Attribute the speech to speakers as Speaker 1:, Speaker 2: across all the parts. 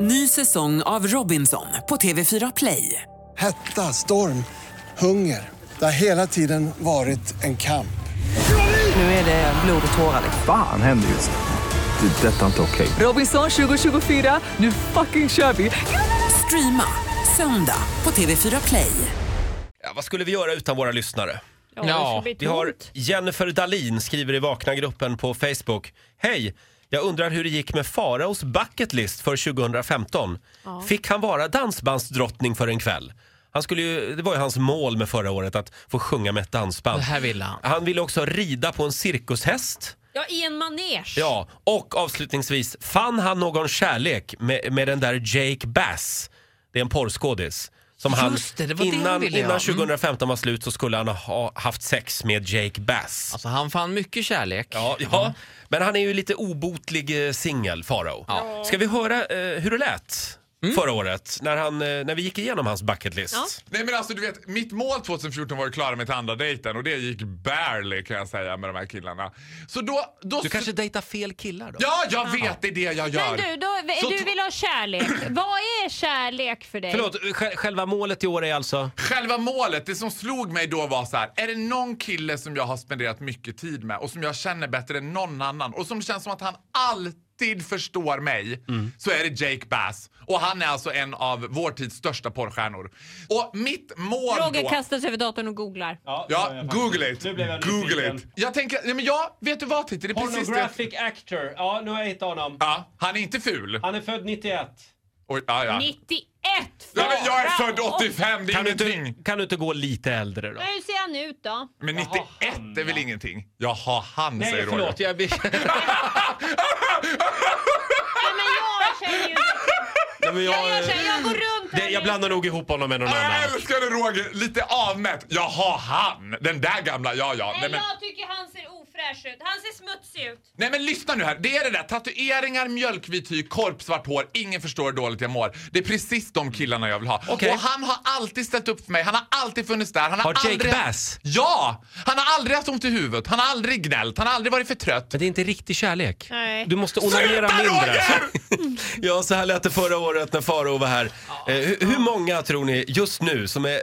Speaker 1: Ny säsong av Robinson på TV4 Play.
Speaker 2: Hetta, storm, hunger. Det har hela tiden varit en kamp.
Speaker 1: Nu är det blod och tårar. liksom.
Speaker 3: Fan händer just nu. Det. är Detta är inte okej.
Speaker 1: Robinson 2024, nu fucking kör vi! Streama söndag på TV4 Play.
Speaker 4: Ja, vad skulle vi göra utan våra lyssnare?
Speaker 5: Ja, ja.
Speaker 4: Vi har Jennifer Dalin skriver i Vakna-gruppen på Facebook. Hej! Jag undrar hur det gick med Faraos bucket list för 2015. Fick han vara dansbandsdrottning för en kväll? Han skulle ju, det var ju hans mål med förra året, att få sjunga med ett dansband.
Speaker 5: Det här ville han.
Speaker 4: Han ville också rida på en cirkushäst.
Speaker 6: Ja, i en manege.
Speaker 4: Ja, och avslutningsvis, fann han någon kärlek med, med den där Jake Bass? Det är en porrskådis. Som han,
Speaker 5: Just det, det var det han
Speaker 4: innan,
Speaker 5: ville, ja.
Speaker 4: innan
Speaker 5: Mm.
Speaker 4: 2015 var slut så skulle han ha haft sex med Jake Bass.
Speaker 5: Alltså han fann mycket kärlek.
Speaker 4: Ja, ja. men han är ju lite obotlig eh, singel, Farao. Ska vi höra eh, hur det lät
Speaker 5: Mm.
Speaker 4: förra året när, han, eh, när vi gick igenom hans bucket list?
Speaker 6: Ja.
Speaker 7: Nej men alltså du vet, mitt mål 2014 var ju att klara mitt andra dejten och det gick barely kan jag säga med de här killarna. Så då... då
Speaker 4: Du kanske dejtar fel killar då?
Speaker 7: Ja, jag vet! Det är det jag gör.
Speaker 6: Men du, då,
Speaker 7: Så
Speaker 6: du
Speaker 7: t-
Speaker 6: vill ha kärlek. Vad är kärlek för dig?
Speaker 4: Förlåt, sj- själva målet i år är alltså?
Speaker 7: Själva målet, det som slog mig då var så här. Är det någon kille som jag har spenderat mycket tid med och som jag känner bättre än någon annan och som känns som att han alltid förstår mig så är det Jake Bass. Och han är alltså en av vår tids största porrstjärnor. Och mitt mål
Speaker 6: Roger
Speaker 7: då...
Speaker 6: kastar sig över datorn och googlar.
Speaker 7: Ja, google it. Google it. Jag tänker, nej men jag, vet du vad Titti? Det är precis det. jag-
Speaker 8: Pornographic actor. Ja, nu har jag hittat honom.
Speaker 7: Ja, han är inte ful.
Speaker 8: Han är född 91.
Speaker 7: Oj, ja, ja.
Speaker 6: 91!
Speaker 7: Ja, men jag är född
Speaker 6: Wow.
Speaker 7: 85, det är
Speaker 4: Kan du,
Speaker 7: ingenting.
Speaker 4: inte, kan du inte gå lite äldre då?
Speaker 6: Och Hur ser han ut då?
Speaker 7: Men 91 är väl ingenting? Jaha, han
Speaker 8: Nej,
Speaker 7: säger
Speaker 8: förlåt.
Speaker 7: Roger.
Speaker 8: Jag blir...
Speaker 6: Nej, men jag känner ju
Speaker 4: Nej, men
Speaker 6: jag, jag, känner, jag går runt här
Speaker 4: det, jag
Speaker 6: nu.
Speaker 4: blandar nog ihop honom med någon annan.
Speaker 7: Jag älskar dig Roger, lite avmätt. Jaha, han. Den där gamla, ja ja.
Speaker 6: Nej,
Speaker 7: Nej men,
Speaker 6: Jag tycker han ser ofräsch ut. Han ser smutsig ut.
Speaker 7: nej men lyssna nu här. Det är det där, tatueringar, mjölkvit hy, korpsvart hår. Ingen förstår hur dåligt jag mår. Det är precis de killarna jag vill ha.
Speaker 4: Okej.
Speaker 7: Och han har alltid ställt upp för mig, han har alltid funnits där. Han har,
Speaker 4: Har Jake
Speaker 7: aldrig...
Speaker 4: Bass?
Speaker 7: Ja! Han har aldrig haft ont i huvudet, han har aldrig gnällt, han har aldrig varit för trött.
Speaker 4: Men det är inte riktig kärlek.
Speaker 6: Nej.
Speaker 4: Du måste onanera mindre. ja, så här lät det förra året när Faro var här. Eh, hur, hur många tror ni just nu som, är, eh,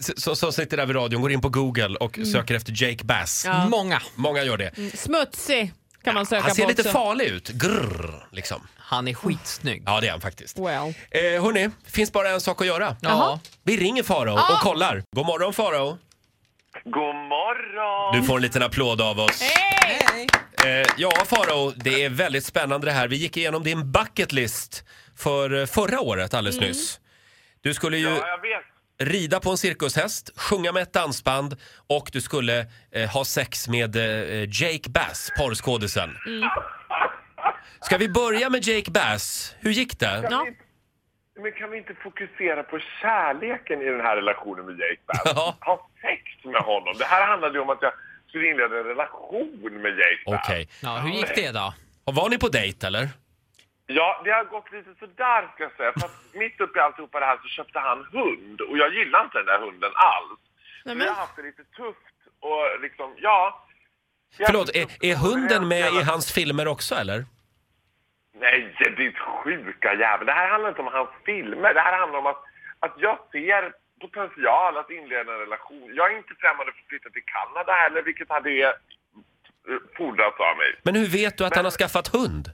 Speaker 4: s- som, som sitter där vid radion går in på Google och
Speaker 8: Mm.
Speaker 4: söker efter Jake Bass?
Speaker 5: Många.
Speaker 4: Många gör det.
Speaker 9: Smutsig kan man söka
Speaker 4: Han ser
Speaker 9: på
Speaker 4: lite
Speaker 9: också.
Speaker 4: farlig ut. Grrr, liksom.
Speaker 5: Han är skitsnygg.
Speaker 4: Ja, det är han faktiskt.
Speaker 9: Well.
Speaker 4: Eh, hörni, finns bara en sak att göra.
Speaker 5: Ja.
Speaker 4: Vi ringer Faro och kollar. God morgon Faro.
Speaker 10: God morgon!
Speaker 4: Du får en liten applåd av oss. Eh, ja, Farao, det är väldigt spännande det här. Vi gick igenom din bucket list för eh, förra året alldeles nyss. Du skulle ju
Speaker 10: Ja, jag vet.
Speaker 4: rida på en cirkushäst, sjunga med ett dansband och du skulle eh, ha sex med eh, Jake Bass, porrskådisen. Ska vi börja med Jake Bass? Hur gick det?
Speaker 10: Kan vi inte- Men kan vi inte fokusera på kärleken i den här relationen med Jake Bass?
Speaker 4: Ja.
Speaker 10: Ha sex med honom. Det här handlade ju om att jag skulle inleda en relation med Jake Bass.
Speaker 4: Okej.
Speaker 5: Ja, hur gick det då?
Speaker 4: Och Var ni på dejt eller?
Speaker 10: Ja, det har gått lite sådär ska jag säga. För att mitt uppe i alltihopa det här så köpte han hund och jag gillar inte den där hunden alls. Vi har haft det lite tufft och liksom, ja. Vi har
Speaker 4: Förlåt,
Speaker 10: haft det
Speaker 4: är,
Speaker 10: tufft
Speaker 4: är
Speaker 10: och
Speaker 4: hunden med
Speaker 10: överens
Speaker 4: i
Speaker 10: hela-
Speaker 4: hans filmer också eller?
Speaker 10: Nej, ditt sjuka jävel. Det här handlar inte om hans filmer. Det här handlar om att, att jag ser potential att inleda en relation. Jag är inte främmande för att flytta till Kanada heller, vilket hade eh, fordrats av mig.
Speaker 4: Men hur vet du att han
Speaker 10: Men-
Speaker 4: har skaffat hund?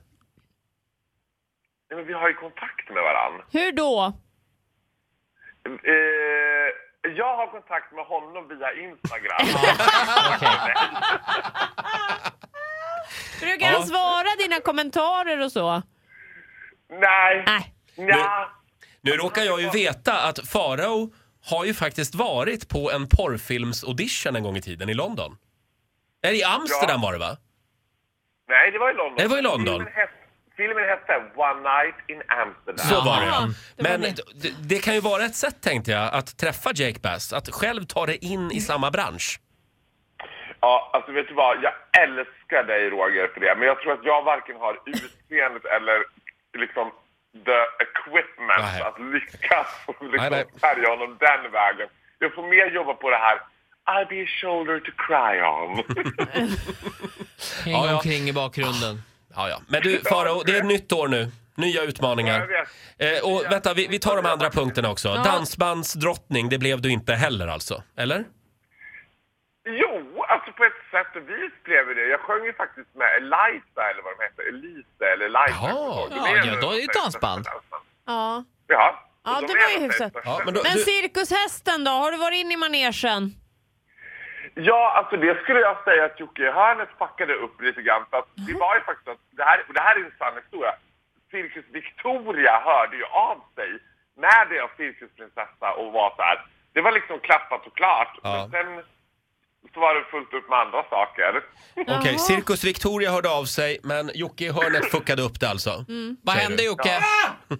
Speaker 10: Nej, Men vi har ju kontakt med varann.
Speaker 9: Hur då?
Speaker 10: Eh, jag har kontakt med honom via Instagram.
Speaker 9: Brukar han svara dina kommentarer och så?
Speaker 10: Nej.
Speaker 9: Nej.
Speaker 10: Nja.
Speaker 4: Äh. Nu råkar jag ju veta att Farao har ju faktiskt varit på en porrfilms-audition en gång i tiden i London. Nej, i Amsterdam var det va?
Speaker 10: Nej, det var i London.
Speaker 4: Det var i London.
Speaker 10: Filmen hette, filmen hette One Night in Amsterdam.
Speaker 4: Så var det. Men det, det kan ju vara ett sätt tänkte jag att träffa Jake Bass, att själv ta dig in i samma bransch.
Speaker 10: Ja, alltså vet du vad? Jag älskar dig Roger för det, men jag tror att jag varken har utseendet eller liksom the equipment
Speaker 4: Nej.
Speaker 10: att lyckas och
Speaker 4: Nej, nej.
Speaker 10: liksom färga honom den vägen. Jag får mer jobba på det här I'll be a shoulder to cry on.
Speaker 5: Häng
Speaker 4: Ja, ja.
Speaker 5: omkring i bakgrunden.
Speaker 4: Ja, ja. Men du Farao, det är ett nytt år nu. Nya utmaningar.
Speaker 10: Ja,
Speaker 4: Eh, och vänta, vi, vi tar de andra punkterna också. Dansbandsdrottning, det blev du inte heller alltså? Eller?
Speaker 10: Jo, alltså på ett sätt och vis blev det det. Jag sjöng ju faktiskt med Elisa eller vad de hette. Elisa eller Elisa.
Speaker 5: Jaha,
Speaker 10: jag kommer inte ihåg.
Speaker 5: ja,
Speaker 10: De
Speaker 5: ja,
Speaker 10: en-
Speaker 5: då är det ju dansband.
Speaker 9: Ja.
Speaker 10: Ja.
Speaker 9: Ja,
Speaker 10: de
Speaker 9: det
Speaker 10: är
Speaker 9: var ju
Speaker 10: en-
Speaker 9: hyfsat.
Speaker 4: Ja, men då,
Speaker 9: Men
Speaker 4: du,
Speaker 9: cirkushästen då? Har du varit inne i manegen?
Speaker 10: Ja, alltså det skulle jag säga att Jocke Hörnes packade upp lite grann. För att det
Speaker 4: Mm.
Speaker 10: var ju faktiskt att, det här, och det här är en sann historia. Cirkus Victoria hörde ju av sig med deras cirkusprinsessa och var så här. Det var liksom klappat och klart.
Speaker 4: Ja.
Speaker 10: Men sen så var det fullt upp med andra saker.
Speaker 4: Okej, Cirkus Victoria hörde av sig, men Jocke i hörnet fuckade upp det alltså.
Speaker 5: Vad
Speaker 4: Säger
Speaker 5: hände
Speaker 4: du.
Speaker 5: Jocke?
Speaker 4: Ja,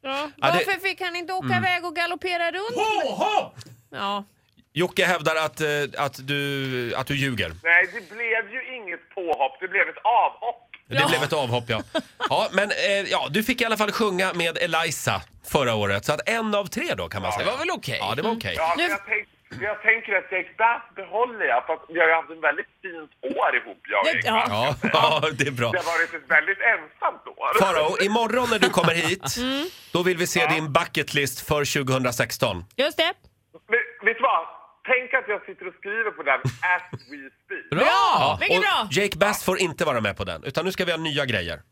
Speaker 4: det- Mm.
Speaker 9: Varför fick han inte åka iväg och galoppera runt?
Speaker 7: Påhopp!
Speaker 9: Ja.
Speaker 4: Jocke hävdar att, eh, att, du, att du ljuger.
Speaker 10: Nej, det blev ju inget påhopp. Det blev ett avhopp.
Speaker 4: Det blev ett avhopp ja. Ja, men eh, ja, du fick i alla fall sjunga med Eliza förra året. Så att en av tre då kan man
Speaker 5: Det
Speaker 4: säga.
Speaker 5: var väl okej?
Speaker 4: Ja, det var Ah, okej.
Speaker 10: Ja,
Speaker 9: Nu-
Speaker 10: men jag, tänk, jag tänker att Jake Bass behåller jag. För att vi har ju haft ett väldigt fint år ihop, jag och
Speaker 9: Det-
Speaker 10: Jake
Speaker 9: ja.
Speaker 10: Bass.
Speaker 4: Ja, ja, det är bra.
Speaker 10: Det har varit ett väldigt ensamt år.
Speaker 4: Farao, imorgon när du kommer hit,
Speaker 9: Mm.
Speaker 4: då vill vi se din bucketlist för 2016.
Speaker 9: Just det.
Speaker 10: Men, vet du vad? Tänk att jag sitter och skriver på den as we speak.
Speaker 5: Bra!
Speaker 9: Vilket
Speaker 4: och
Speaker 9: bra!
Speaker 4: Jake Bass får inte vara med på den, utan nu ska vi ha nya grejer.